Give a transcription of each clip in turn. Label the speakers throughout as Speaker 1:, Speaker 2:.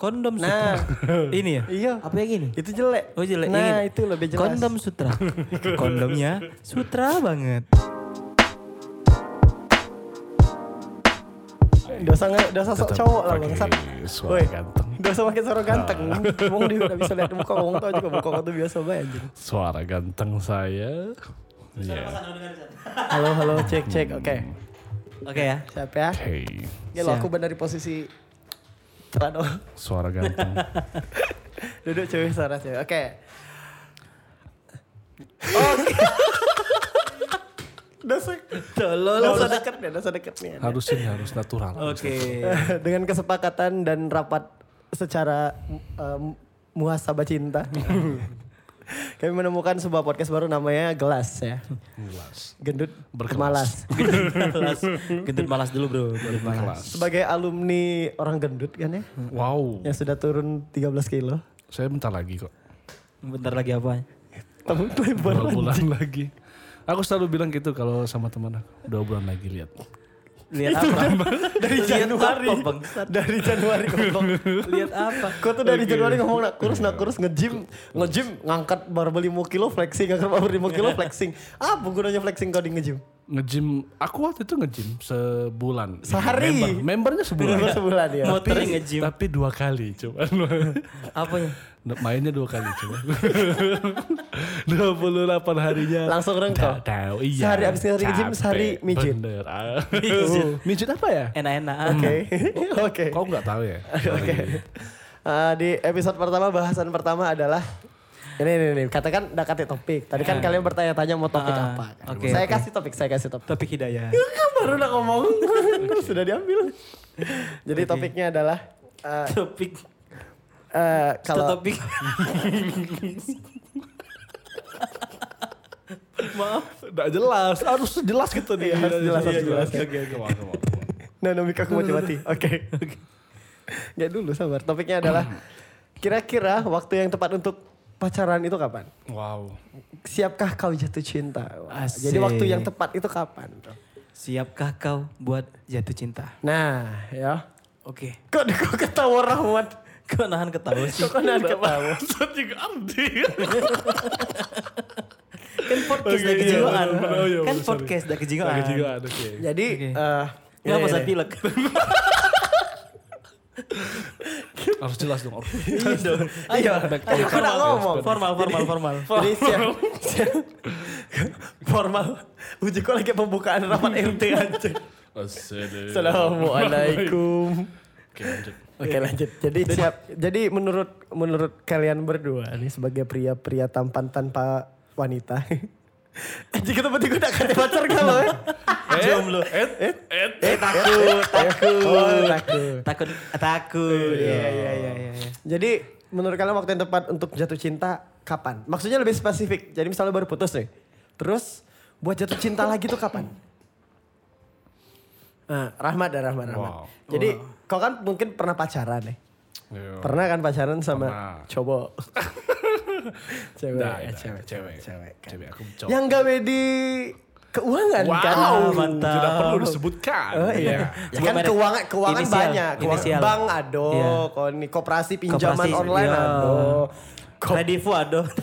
Speaker 1: Kondom
Speaker 2: Nah.
Speaker 1: sutra. Ini ya?
Speaker 2: Iya.
Speaker 3: Apa yang ini?
Speaker 2: Itu jelek.
Speaker 1: Oh jelek.
Speaker 2: Nah,
Speaker 1: ini.
Speaker 2: itu lebih jelas.
Speaker 3: Kondom sutra.
Speaker 1: Kondomnya sutra banget.
Speaker 2: Dosa nggak dosa sok
Speaker 4: Tetap
Speaker 2: cowok lah
Speaker 4: pakai
Speaker 2: bangsat.
Speaker 4: suara kan. Nah.
Speaker 2: Woi,
Speaker 4: ganteng.
Speaker 2: Dosa pakai suara ganteng. Wong dia udah bisa lihat muka wong tau juga muka wong tuh biasa banget anjing.
Speaker 4: Suara ganteng saya. Iya.
Speaker 2: Halo, halo, cek cek. Oke.
Speaker 1: Oke ya.
Speaker 2: Siap ya.
Speaker 4: Hey,
Speaker 2: Ya lo
Speaker 1: Siap.
Speaker 2: aku benar di posisi celana dong.
Speaker 4: suara ganteng.
Speaker 2: Duduk cewek suara cewek. Oke. Oke. Dosa.
Speaker 1: Tolol.
Speaker 2: Dosa dekat nih, dosa dekat nih.
Speaker 4: harus ini harus natural. harus
Speaker 1: Oke.
Speaker 2: Dengan kesepakatan dan rapat secara um, muhasabah cinta. Kami menemukan sebuah podcast baru namanya Gelas ya.
Speaker 4: Jelas.
Speaker 2: Gendut
Speaker 4: Berkelas.
Speaker 2: Bermalas.
Speaker 1: Malas. Gendut malas dulu bro. Gendut malas.
Speaker 4: Kelas.
Speaker 2: Sebagai alumni orang gendut kan ya.
Speaker 4: Wow.
Speaker 2: Yang sudah turun 13 kilo.
Speaker 4: Saya bentar lagi kok.
Speaker 1: Bentar lagi apa?
Speaker 2: Tapi lebar.
Speaker 4: Dua bulan lagi. Aku selalu bilang gitu kalau sama teman aku. Dua bulan lagi lihat.
Speaker 1: Lihat apa?
Speaker 2: Dari
Speaker 1: Lihat
Speaker 2: Januari.
Speaker 1: apa, bangsat?
Speaker 2: Dari Januari goblok.
Speaker 1: Lihat apa?
Speaker 2: Kau tuh dari Januari ngomong nak kurus, nak kurus, nge-gym, nge-gym, ngangkat barbel 5 kilo flexing, ngangkat barbel 5 kilo flexing. Apa gunanya flexing kau di nge-gym?
Speaker 4: Nge-gym, aku waktu itu nge-gym sebulan.
Speaker 2: Sehari?
Speaker 4: Member, membernya sebulan.
Speaker 2: Baru sebulan ya.
Speaker 1: Mau tering nge-gym.
Speaker 4: Tapi dua kali cuman.
Speaker 1: Apanya?
Speaker 4: Mainnya dua kali cuman. 28 harinya.
Speaker 2: Langsung rengkau.
Speaker 4: Nggak tahu, iya.
Speaker 2: Sehari abis nge-gym, sehari
Speaker 4: Capek,
Speaker 2: mijit. Eh.
Speaker 4: Bener. ah.
Speaker 1: Mijit.
Speaker 4: mijit apa ya?
Speaker 1: Enak-enak.
Speaker 2: Oke. Oke.
Speaker 4: Kau nggak tahu ya?
Speaker 2: Oke. Eh, di episode pertama bahasan pertama adalah ini ini ini katakan udah kasih topik. Tadi kan kalian bertanya-tanya mau topik
Speaker 1: Ah,
Speaker 2: apa.
Speaker 1: oke,
Speaker 2: saya
Speaker 1: oke.
Speaker 2: kasih topik, saya kasih topik.
Speaker 1: Topik hidayah.
Speaker 2: Baru udah ngomong sudah diambil. Jadi topiknya adalah eh,
Speaker 1: Topik.
Speaker 2: eh,
Speaker 1: Kalau...
Speaker 2: kalau
Speaker 1: Topik. Maaf.
Speaker 4: Nggak jelas. Harus jelas gitu nih.
Speaker 2: Iya, harus jelas, harus jelas.
Speaker 4: Oke, oke, oke. Maaf, maaf, maaf.
Speaker 2: Nah, Nomika aku mau mati. Oke. Gak dulu sabar. Topiknya adalah kira-kira waktu yang tepat untuk pacaran itu kapan?
Speaker 4: Wow.
Speaker 2: Siapkah kau jatuh cinta? Wah,
Speaker 1: Asik.
Speaker 2: Jadi waktu yang tepat itu kapan?
Speaker 1: Siapkah kau buat jatuh cinta?
Speaker 2: Nah, ya.
Speaker 1: Oke.
Speaker 2: Kok kok ketawa Rahmat?
Speaker 1: Kau nahan ketawa sih.
Speaker 2: Kok kau nahan ketawa?
Speaker 4: Maksud juga arti.
Speaker 1: Kan podcast
Speaker 4: Oke,
Speaker 1: dah
Speaker 4: iya,
Speaker 1: kejiwaan.
Speaker 4: bener, bener. Oh, iya,
Speaker 1: Kan
Speaker 4: bener,
Speaker 1: podcast dah kejiwaan.
Speaker 4: Oke, juga ada, oke.
Speaker 2: Jadi
Speaker 1: Oke.
Speaker 2: eh,
Speaker 1: Kenapa
Speaker 2: ini,
Speaker 1: saya
Speaker 2: ini.
Speaker 1: pilek?
Speaker 4: Harus jelas dong. harus.
Speaker 2: Ayo,
Speaker 1: Back to
Speaker 2: ayo
Speaker 1: the
Speaker 2: kau nak ngomong.
Speaker 1: Formal, formal, formal.
Speaker 2: Jadi siap, siap. formal. Uji kok lagi pembukaan rapat RT aja. Assalamualaikum.
Speaker 4: Oke, lanjut.
Speaker 2: Oke lanjut. Jadi siap. Jadi menurut menurut kalian berdua nih sebagai pria-pria tampan tanpa wanita. Jika tempat gue udah kata pacar gak lo ya?
Speaker 4: Jomblo. Eh, eh, eh,
Speaker 2: Eh takut, takut, takut.
Speaker 1: Takut, takut. Iya, iya, iya, iya. iya.
Speaker 2: Jadi menurut kalian waktu yang tepat untuk jatuh cinta kapan? Maksudnya lebih spesifik. Jadi misalnya baru putus nih. Terus buat jatuh cinta lagi tuh kapan? Nah, Rahmat dan Rahmat, Rahmat.
Speaker 4: Wow.
Speaker 2: Jadi kau kan mungkin pernah pacaran nih.
Speaker 4: Yo.
Speaker 2: Pernah kan pacaran sama
Speaker 4: Oh. Pernah.
Speaker 2: cowok? cewek,
Speaker 4: Nah,
Speaker 2: ya,
Speaker 4: nah,
Speaker 2: cewek,
Speaker 4: cewek,
Speaker 2: cewek, kan.
Speaker 4: Cewek, aku cowok.
Speaker 2: Yang gawe di keuangan kan?
Speaker 1: mantap.
Speaker 4: Tidak perlu disebutkan.
Speaker 2: Oh iya. Ya
Speaker 1: Cuma
Speaker 2: kan
Speaker 1: merek-
Speaker 2: keuangan keuangan
Speaker 1: inisial,
Speaker 2: banyak. Keuangan
Speaker 1: inisial.
Speaker 2: bank ado,
Speaker 1: Iya.
Speaker 2: kalau ini koperasi pinjaman
Speaker 1: Koperasi,
Speaker 2: online
Speaker 1: iya.
Speaker 2: ado. Ko-
Speaker 1: Kredivo aduh.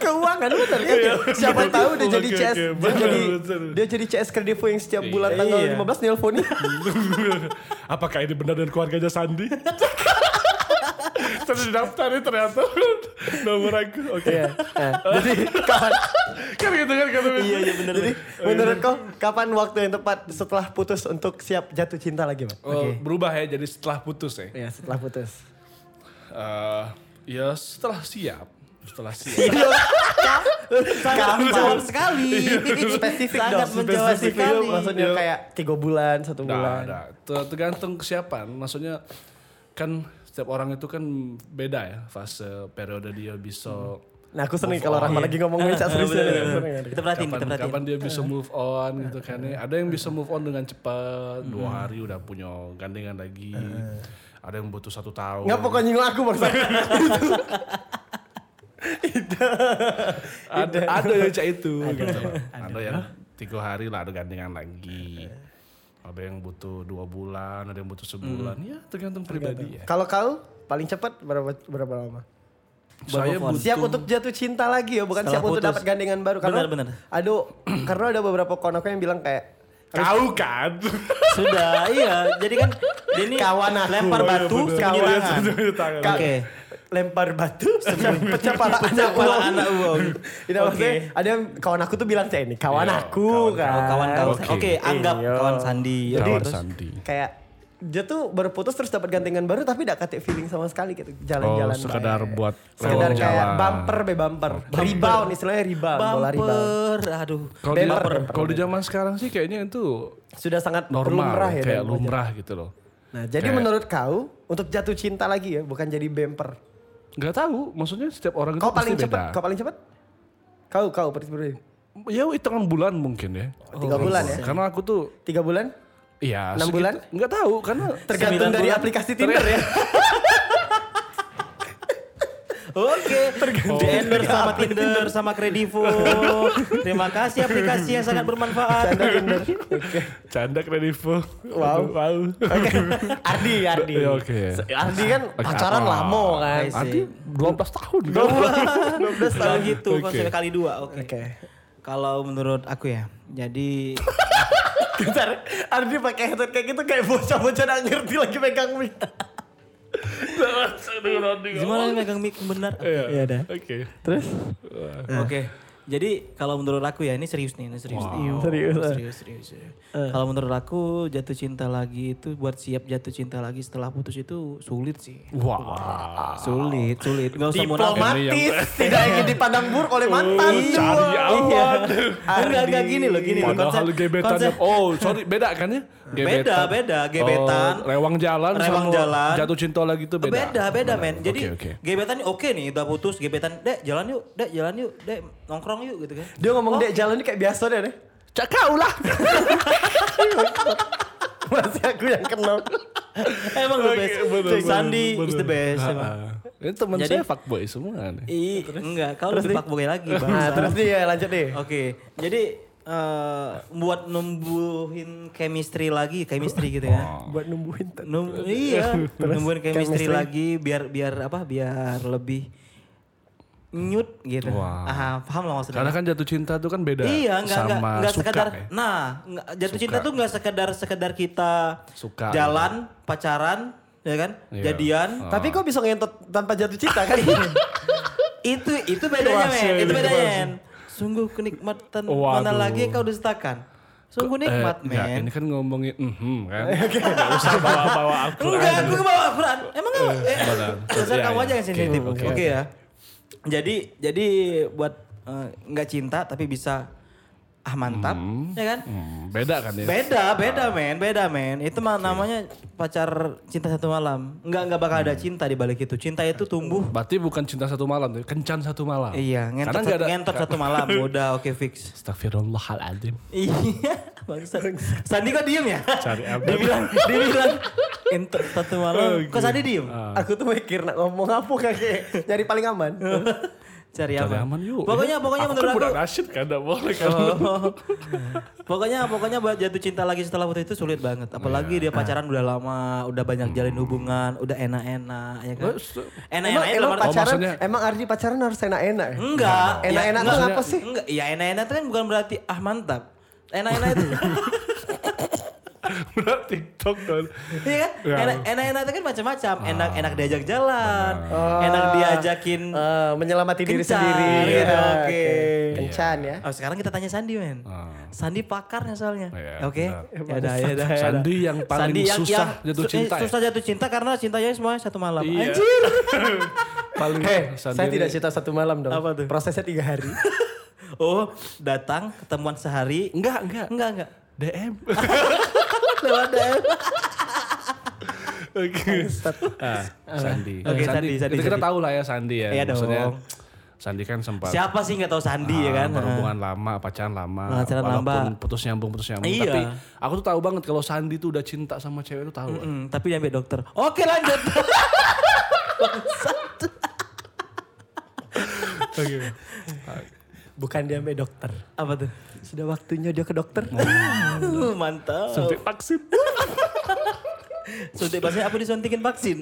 Speaker 2: keuangan bener kan? Siapa
Speaker 4: Kredivo,
Speaker 2: tahu dia
Speaker 4: Iya. oke,
Speaker 2: jadi
Speaker 4: oke,
Speaker 2: CS, dia
Speaker 4: bener,
Speaker 2: jadi
Speaker 4: bener.
Speaker 2: dia jadi CS kredivo yang setiap bulan
Speaker 4: Iya.
Speaker 2: tanggal
Speaker 1: Iya.
Speaker 2: 15 nelponin.
Speaker 4: Apakah ini benar dengan keluarganya Sandi? Terus daftarin ternyata nomor aku. Oke.
Speaker 2: Iya. Nah, Jadi kapan
Speaker 4: Kan gitu kan kata Iya, iya benar.
Speaker 2: Jadi menurut kau kapan waktu yang tepat setelah putus untuk siap jatuh cinta lagi, Bang?
Speaker 4: berubah ya jadi setelah putus ya.
Speaker 2: Iya, setelah putus.
Speaker 4: Eh, ya setelah siap. Setelah siap.
Speaker 2: Iya.
Speaker 1: Sangat menjawab sekali.
Speaker 2: Spesifik
Speaker 1: Sangat
Speaker 2: dong.
Speaker 1: menjawab
Speaker 2: spesifik
Speaker 1: sekali.
Speaker 2: Maksudnya kayak tiga bulan, satu
Speaker 4: Nah,
Speaker 2: bulan.
Speaker 4: nah, ter- tergantung kesiapan. Maksudnya kan setiap orang itu kan beda ya fase periode dia bisa
Speaker 2: Nah aku seneng
Speaker 4: Move
Speaker 2: kalau
Speaker 4: on. Iya,
Speaker 2: Rahma lagi ngomong ini
Speaker 1: Bener,
Speaker 2: serius
Speaker 1: bener, bener.
Speaker 2: serius.
Speaker 1: Kita perhatiin, kita
Speaker 4: kapan,
Speaker 1: perhatiin.
Speaker 4: kapan dia bisa move on gitu kan ya. Ada yang bisa move on dengan cepat, dua
Speaker 2: Hmm.
Speaker 4: hari udah punya gandengan lagi.
Speaker 2: Eh.
Speaker 4: Ada yang butuh satu tahun.
Speaker 2: Nggak pokoknya nyinggung aku bangsa.
Speaker 4: ada,
Speaker 2: Eh.
Speaker 4: ada yang cak itu gitu. Ada yang tiga hari lah ada gandengan lagi. ada yang butuh dua bulan ada yang butuh sebulan
Speaker 2: Hmm.
Speaker 4: ya tergantung pribadi ya
Speaker 2: Kalau kau paling cepat berapa berapa lama?
Speaker 4: saya butuh
Speaker 2: Siap untuk jatuh cinta lagi ya, bukan
Speaker 1: Setelah
Speaker 2: siap untuk
Speaker 1: putus.
Speaker 2: dapat gandengan baru. Karena,
Speaker 1: Benar, benar.
Speaker 2: Aduh, karena ada beberapa konokku yang bilang kayak
Speaker 4: kau kan
Speaker 1: Sudah, iya. Jadi kan dia ini
Speaker 2: Kawan aku.
Speaker 1: lempar
Speaker 2: Oh, iya,
Speaker 1: batu
Speaker 2: bener.
Speaker 1: sembunyi
Speaker 2: Kawan.
Speaker 1: tangan.
Speaker 4: Sembunyi tangan.
Speaker 1: Oke.
Speaker 2: lempar batu sebelum pecah pala anak
Speaker 1: pala
Speaker 2: uang.
Speaker 1: anak uang.
Speaker 2: Tidak
Speaker 1: Oke.
Speaker 2: maksudnya, ada yang kawan aku tuh bilang kayak ini, kawan
Speaker 4: Iya,
Speaker 2: aku
Speaker 4: kawan-
Speaker 2: kan.
Speaker 1: Kawan kawan.
Speaker 4: Oke.
Speaker 1: Oke, anggap
Speaker 2: Iya.
Speaker 1: kawan Sandi.
Speaker 4: Jadi-
Speaker 1: Oke.
Speaker 4: Kawan
Speaker 2: terus
Speaker 4: Sandi.
Speaker 2: Kayak dia tuh baru putus terus dapat gantengan baru tapi gak kate feeling sama sekali gitu
Speaker 4: Oh,
Speaker 2: jalan-jalan.
Speaker 4: sekedar
Speaker 2: baik.
Speaker 4: buat
Speaker 2: sekedar
Speaker 4: lewat
Speaker 2: kayak
Speaker 4: jalan.
Speaker 2: bumper be bumper. Rebound istilahnya rebound, bola rebound.
Speaker 1: Bumper, aduh.
Speaker 4: kalau di,
Speaker 2: Bumper, bumper.
Speaker 4: kalau di zaman sekarang sih kayaknya itu
Speaker 2: Sudah sangat
Speaker 4: normal
Speaker 2: lumrah ya
Speaker 4: kayak
Speaker 2: dan wajar.
Speaker 4: lumrah gitu loh
Speaker 2: Nah, jadi
Speaker 4: Kayak-
Speaker 2: menurut kau untuk jatuh cinta lagi ya, bukan jadi bumper.
Speaker 4: nggak tahu maksudnya setiap orang itu
Speaker 2: Kau paling
Speaker 4: pasti
Speaker 2: cepat,
Speaker 4: beda
Speaker 2: kau paling cepat? Kau kau persis
Speaker 4: ya hitungan bulan mungkin ya
Speaker 2: Tiga bulan ya?
Speaker 4: karena aku tuh
Speaker 2: Tiga bulan?
Speaker 4: Iya.
Speaker 2: Enam
Speaker 4: sekitar-
Speaker 2: bulan?
Speaker 4: Nggak tahu karena
Speaker 2: Tergantung
Speaker 1: Sembilan
Speaker 2: dari
Speaker 1: bulan?
Speaker 2: aplikasi Tinder ya.
Speaker 1: Oke, tergantung. Endor sama Tinder sama Kredivo. Terima kasih aplikasi yang sangat bermanfaat.
Speaker 2: Canda Tinder. Oke.
Speaker 4: canda kredivo.
Speaker 2: Wow.
Speaker 4: wow.
Speaker 2: Oke. Ardi, Ardi.
Speaker 4: Ya, oke.
Speaker 2: Ardi kan
Speaker 4: Oke,
Speaker 2: pacaran
Speaker 4: apa?
Speaker 2: lama
Speaker 1: I
Speaker 2: kan.
Speaker 1: see.
Speaker 4: Nanti 12 tahun.
Speaker 1: 12 Iya. tahun gitu
Speaker 4: Oke.
Speaker 1: konsepnya kali dua. Oke.
Speaker 2: Oke.
Speaker 1: Kalau menurut aku ya, jadi
Speaker 2: Bentar, Ardi pakai headset kayak gitu kayak bocah-bocah nggak ngerti lagi pegang mic.
Speaker 1: gimana megang mic benar?
Speaker 2: Eh,
Speaker 4: Iya dah. Oke.
Speaker 2: Terus? Eh.
Speaker 1: Oke. Jadi kalau menurut aku ya ini serius nih, ini serius. Iya,
Speaker 2: Serius, eh.
Speaker 1: serius, serius, serius. Kalau menurut aku jatuh cinta lagi itu buat siap jatuh cinta lagi setelah putus itu sulit sih.
Speaker 4: Wah.
Speaker 1: Sulit, sulit. Gak usah munafik. Iya, Uh,
Speaker 2: Diplomatis, tidak ingin dipandang buruk oleh mantan.
Speaker 4: cari
Speaker 2: Iya.
Speaker 4: aman.
Speaker 1: Enggak, enggak gini loh, gini loh.
Speaker 4: Padahal
Speaker 1: Konsep-
Speaker 4: gebetannya
Speaker 1: konsep-
Speaker 4: oh sorry beda kan ya?
Speaker 1: Beda, beda. Gebetan.
Speaker 4: Oh, rewang jalan
Speaker 1: Rewang
Speaker 4: sama
Speaker 1: jalan.
Speaker 4: jatuh cinta lagi itu beda.
Speaker 1: Beda, beda, men. Jadi
Speaker 4: Oke, oke.
Speaker 1: gebetan oke nih udah putus, gebetan, "Dek, jalan yuk, Dek, jalan yuk, Dek, nongkrong yuk" gitu kan.
Speaker 2: Dia ngomong
Speaker 4: Oh.
Speaker 2: dek jalan ini kayak biasa deh. deh."
Speaker 4: Cak kau lah.
Speaker 2: Masih aku yang kenal.
Speaker 1: emang the best. Cuy, Sandi is the best.
Speaker 4: Ha-ha.
Speaker 1: emang.
Speaker 4: Ini teman
Speaker 1: Jadi- Iya,
Speaker 4: saya fuckboy semua nih.
Speaker 1: Ih, enggak, kau lebih fuckboy lagi,
Speaker 2: Nah,
Speaker 1: bangsa.
Speaker 2: terus dia lanjut deh.
Speaker 1: Oke, jadi eh, buat numbuhin chemistry lagi, chemistry gitu
Speaker 4: Oh.
Speaker 1: ya.
Speaker 2: Buat numbuhin ten-
Speaker 1: Num- iya, numbuhin chemistry,
Speaker 2: Oh, chemistry.
Speaker 1: lagi biar biar apa? Biar lebih nyut gitu.
Speaker 4: Wah.
Speaker 1: Ah, paham lah maksudnya.
Speaker 4: Karena kan jatuh cinta itu kan beda
Speaker 1: Iya, enggak
Speaker 4: sama
Speaker 1: enggak enggak
Speaker 4: suka
Speaker 1: sekedar.
Speaker 4: ya.
Speaker 1: Nah, enggak, jatuh
Speaker 4: Suka.
Speaker 1: cinta tuh enggak sekedar sekedar kita
Speaker 4: Suka,
Speaker 1: jalan, pacaran, ya kan?
Speaker 4: Iya.
Speaker 1: Jadian. Iya.
Speaker 4: Ah.
Speaker 2: Tapi kok bisa ngentot tanpa jatuh cinta kan?
Speaker 1: Itu itu bedanya,
Speaker 4: Wah,
Speaker 1: men. Itu
Speaker 4: serius.
Speaker 1: bedanya. men. Sungguh kenikmatan mana
Speaker 4: Waduh.
Speaker 1: lagi yang kau dustakan? Sungguh
Speaker 4: Eh,
Speaker 1: nikmat,
Speaker 4: enggak,
Speaker 1: men.
Speaker 4: ini kan ngomongin mhm kan. Enggak usah bawa-bawa Al-Qur'an.
Speaker 1: Enggak, aku kebawa Al-Quran. Emang kamu? Eh,
Speaker 4: benar.
Speaker 1: dasar
Speaker 4: Iya,
Speaker 1: kamu
Speaker 4: iya.
Speaker 1: aja yang
Speaker 4: Oke,
Speaker 1: sensitif.
Speaker 4: oke,
Speaker 1: Oke ya. Jadi jadi buat eh, nggak cinta tapi bisa ah mantap, ya kan?
Speaker 4: Hmm, beda kan ya.
Speaker 1: Beda, beda men, beda men. Itu mah namanya pacar cinta satu malam. Enggak enggak bakal
Speaker 4: Hmm.
Speaker 1: ada cinta di balik itu. Cinta itu tumbuh.
Speaker 4: Berarti bukan cinta satu malam, tapi kencan satu malam.
Speaker 1: Iya,
Speaker 4: Karena
Speaker 1: ngentot,
Speaker 4: nggak
Speaker 1: satu,
Speaker 4: ada.
Speaker 1: ngentot satu malam. Udah oke fix.
Speaker 4: Astagfirullahaladzim.
Speaker 1: Iya, bangsat. Sandi kok diem ya?
Speaker 4: Cari Oh, update.
Speaker 1: dibilang, dibilang entot satu malam. Kok
Speaker 4: gitu.
Speaker 1: Sandi diem?
Speaker 4: Ah.
Speaker 2: aku tuh mikir nak ngomong apa kakek. Nyari paling aman.
Speaker 1: Cari
Speaker 4: Cari
Speaker 1: aman.
Speaker 4: aman yuk.
Speaker 1: Iya,
Speaker 4: ya.
Speaker 1: Pokoknya pokoknya
Speaker 4: aku
Speaker 1: menurut
Speaker 4: kan budak
Speaker 1: aku
Speaker 4: nasyid kan, nggak boleh kan.
Speaker 1: Oh. pokoknya pokoknya buat jatuh cinta lagi setelah putus itu sulit banget. Apalagi dia
Speaker 2: Iya.
Speaker 1: pacaran udah lama, udah banyak jalin hubungan, udah enak-enak ya kan. Enak-enak
Speaker 2: Emang,
Speaker 1: itu
Speaker 2: emang
Speaker 1: dalam arti-
Speaker 2: pacaran,
Speaker 4: Oh, maksudnya- Hmm.
Speaker 2: emang Ardi pacaran harus enak-enak ya?
Speaker 1: enggak. Ya,
Speaker 2: Enak-enak tuh
Speaker 1: enggak.
Speaker 2: apa sih?
Speaker 1: Enggak, ya enak-enak itu kan bukan berarti ah mantap. Enak-enak itu
Speaker 4: Berat TikTok dong.
Speaker 1: Iya kan?
Speaker 4: Ya.
Speaker 1: Enak- Enak-enak itu kan macam-macam.
Speaker 2: Ah.
Speaker 1: Enak-enak diajak jalan, enak diajakin
Speaker 2: Eh, menyelamati diri
Speaker 1: Kencan,
Speaker 2: sendiri.
Speaker 4: Iya,
Speaker 1: gitu,
Speaker 2: Ya,
Speaker 1: oke.
Speaker 2: Kencan ya.
Speaker 1: Oh, sekarang kita tanya Sandi, men.
Speaker 2: Ah.
Speaker 4: Ah.
Speaker 1: Sandi pakarnya soalnya.
Speaker 4: Iya,
Speaker 1: Oke.
Speaker 4: benar.
Speaker 1: Ya udah, ya udah, ya udah.
Speaker 4: Sandi yang paling
Speaker 1: Sandi yang-
Speaker 4: susah
Speaker 1: yang
Speaker 4: jatuh
Speaker 1: su-
Speaker 4: cinta
Speaker 1: eh,
Speaker 4: ya?
Speaker 1: Susah jatuh cinta karena cintanya semua satu malam.
Speaker 4: Iya.
Speaker 1: Anjir.
Speaker 4: Paling
Speaker 2: Hei,
Speaker 4: sendiri.
Speaker 2: Eh, saya tidak cerita satu malam dong.
Speaker 1: Apa tuh?
Speaker 2: Prosesnya tiga hari.
Speaker 1: Oh, datang ketemuan sehari.
Speaker 4: Enggak, enggak.
Speaker 1: Enggak, enggak.
Speaker 4: DM.
Speaker 1: Lewat DM.
Speaker 4: Oke. Ah, Sandi.
Speaker 1: Oke, Sandi, Sandi,
Speaker 4: Itu kita
Speaker 1: Sandi.
Speaker 4: tahu lah ya Sandi ya.
Speaker 1: Iya
Speaker 4: Maksudnya,
Speaker 1: dong.
Speaker 4: Sandi kan sempat
Speaker 1: Siapa sih nggak tahu Sandi ya
Speaker 4: Ah,
Speaker 1: kan?
Speaker 4: berhubungan lama pacaran lama
Speaker 1: Pacaran
Speaker 4: walaupun
Speaker 1: lama.
Speaker 4: putus nyambung putus nyambung
Speaker 1: Iya.
Speaker 4: tapi aku tuh tahu banget kalau Sandi tuh udah cinta sama cewek tuh tahu
Speaker 1: Mm, tapi diambil dokter. Oke, lanjut. Bangsat.
Speaker 2: Bukan dia sampai dokter.
Speaker 1: Apa tuh?
Speaker 2: Sudah waktunya dia ke dokter.
Speaker 1: Uh, Mantap.
Speaker 4: Suntik vaksin.
Speaker 1: Suntik vaksin apa disuntikin vaksin?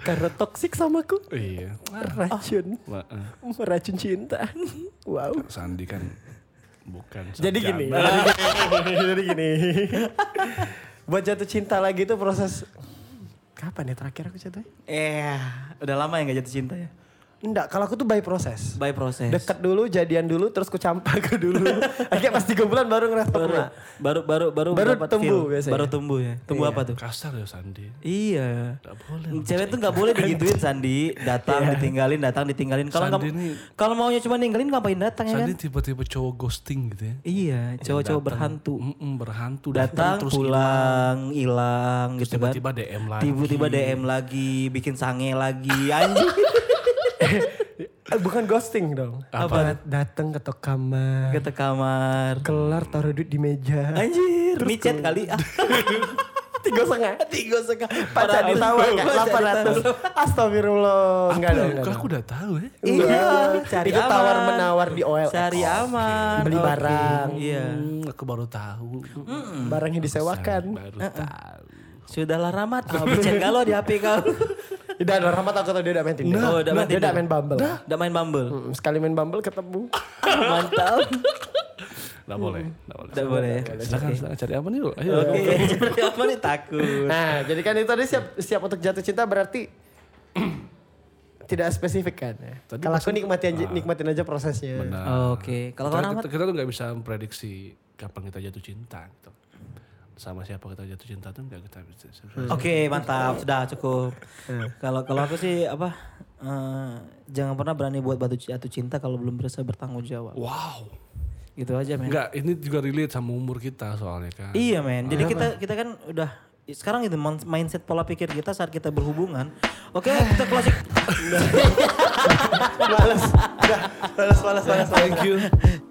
Speaker 2: Karena toksik sama aku.
Speaker 4: iya.
Speaker 2: Racun.
Speaker 4: Wah, eh,
Speaker 2: Racun cinta. Wow.
Speaker 4: Sandi kan bukan.
Speaker 2: Jadi
Speaker 4: sarjana.
Speaker 2: gini, jadi gini, jadi gini. Buat jatuh cinta lagi itu proses kapan ya terakhir aku jatuh?
Speaker 1: Eh, udah lama ya gak jatuh cinta ya?
Speaker 2: Enggak, kalau aku tuh by proses.
Speaker 1: By proses.
Speaker 2: Deket dulu, jadian dulu, terus ku campak ke dulu. Akhirnya pas tiga bulan baru ngerasa
Speaker 1: Baru,
Speaker 2: pernah.
Speaker 1: baru baru baru
Speaker 2: Baru
Speaker 1: dapat
Speaker 2: tumbuh
Speaker 1: feel.
Speaker 2: biasanya.
Speaker 1: Baru tumbuh ya. Tumbuh apa tuh?
Speaker 4: Kasar ya Sandi.
Speaker 1: Iya.
Speaker 4: Gak boleh. Kan- Iya.
Speaker 1: Cewek tuh nggak boleh digituin Sandi, datang ditinggalin, datang ditinggalin. Kalau nggak
Speaker 4: Sandi ini-
Speaker 1: kalau maunya cuma ninggalin ngapain datang ya kan?
Speaker 4: Sandi tiba-tiba cowok ghosting gitu ya.
Speaker 1: Iya, cowok-cowok berhantu.
Speaker 4: Mm-mm, berhantu
Speaker 1: Hmm. Datang pulang, hilang gitu kan.
Speaker 4: tiba-tiba DM lagi.
Speaker 1: Tiba-tiba DM lagi, bikin sange lagi, anjing.
Speaker 2: Eh, Bukan ghosting dong.
Speaker 1: Apa?
Speaker 2: Dat- Datang ketok kamar.
Speaker 1: Ke kamar.
Speaker 2: Kelar taruh duit di meja.
Speaker 1: Anjir, micet kali. Ah,
Speaker 2: Tiga setengah.
Speaker 1: Tiga setengah. Padahal-
Speaker 2: Pacar ditawar kan?
Speaker 1: Pacar
Speaker 2: 800.
Speaker 1: ditawar.
Speaker 2: Astagfirullah.
Speaker 4: Apa
Speaker 2: Enggak
Speaker 4: ya?
Speaker 2: dong. enggak
Speaker 4: Kok
Speaker 2: dong.
Speaker 4: aku udah tahu ya.
Speaker 1: Iya,
Speaker 2: Enggak.
Speaker 1: cari
Speaker 2: Itu
Speaker 1: aman.
Speaker 2: tawar menawar di OLX.
Speaker 1: Cari aman.
Speaker 2: Beli
Speaker 1: oke.
Speaker 2: barang. Hmm.
Speaker 1: Iya.
Speaker 4: Hmm, aku baru tahu.
Speaker 2: Barangnya disewakan.
Speaker 4: Baru tahu.
Speaker 1: Sudahlah Ramat, ah, micet kalau di HP kau.
Speaker 2: Udah ada Rahmat aku tau dia udah main Tinder.
Speaker 1: Nah, udah main
Speaker 2: dia udah
Speaker 1: Tinder.
Speaker 2: main Bumble.
Speaker 1: Udah main Bumble.
Speaker 2: Mm, Sekali main Bumble ketemu.
Speaker 1: Mantap.
Speaker 4: Nggak boleh. Nggak boleh.
Speaker 1: Udah boleh ya.
Speaker 4: Silakan, silakan cari apa nih lo? Ayo.
Speaker 1: Oke, seperti apa nih takut.
Speaker 2: Nah, jadi kan itu tadi siap siap untuk jatuh cinta berarti tidak spesifik kan. ya? Ah.
Speaker 4: Tadi
Speaker 2: Kalau aku
Speaker 4: maksud-
Speaker 2: nikmatin aja, nikmatin aja prosesnya.
Speaker 4: Benar.
Speaker 1: Oke, kalau kau
Speaker 4: Nah, Kita,
Speaker 1: Rahmat
Speaker 4: kita, kita tuh nggak bisa memprediksi kapan kita jatuh cinta gitu. Sama siapa kita jatuh cinta tuh nggak kita bisa.
Speaker 1: Oke mantap sudah cukup. Kalau kalau aku sih apa eh, jangan pernah berani buat batu jatuh cinta kalau belum berasa bertanggung jawab.
Speaker 4: Wow.
Speaker 1: Gitu aja men.
Speaker 4: Enggak, ini juga relate sama umur kita soalnya kan.
Speaker 1: Iya men. Jadi kita kita kan udah sekarang itu mon- mindset pola pikir kita saat kita berhubungan. Oke kita closing.
Speaker 2: Males. Udah, males, males, males.
Speaker 4: Thank you.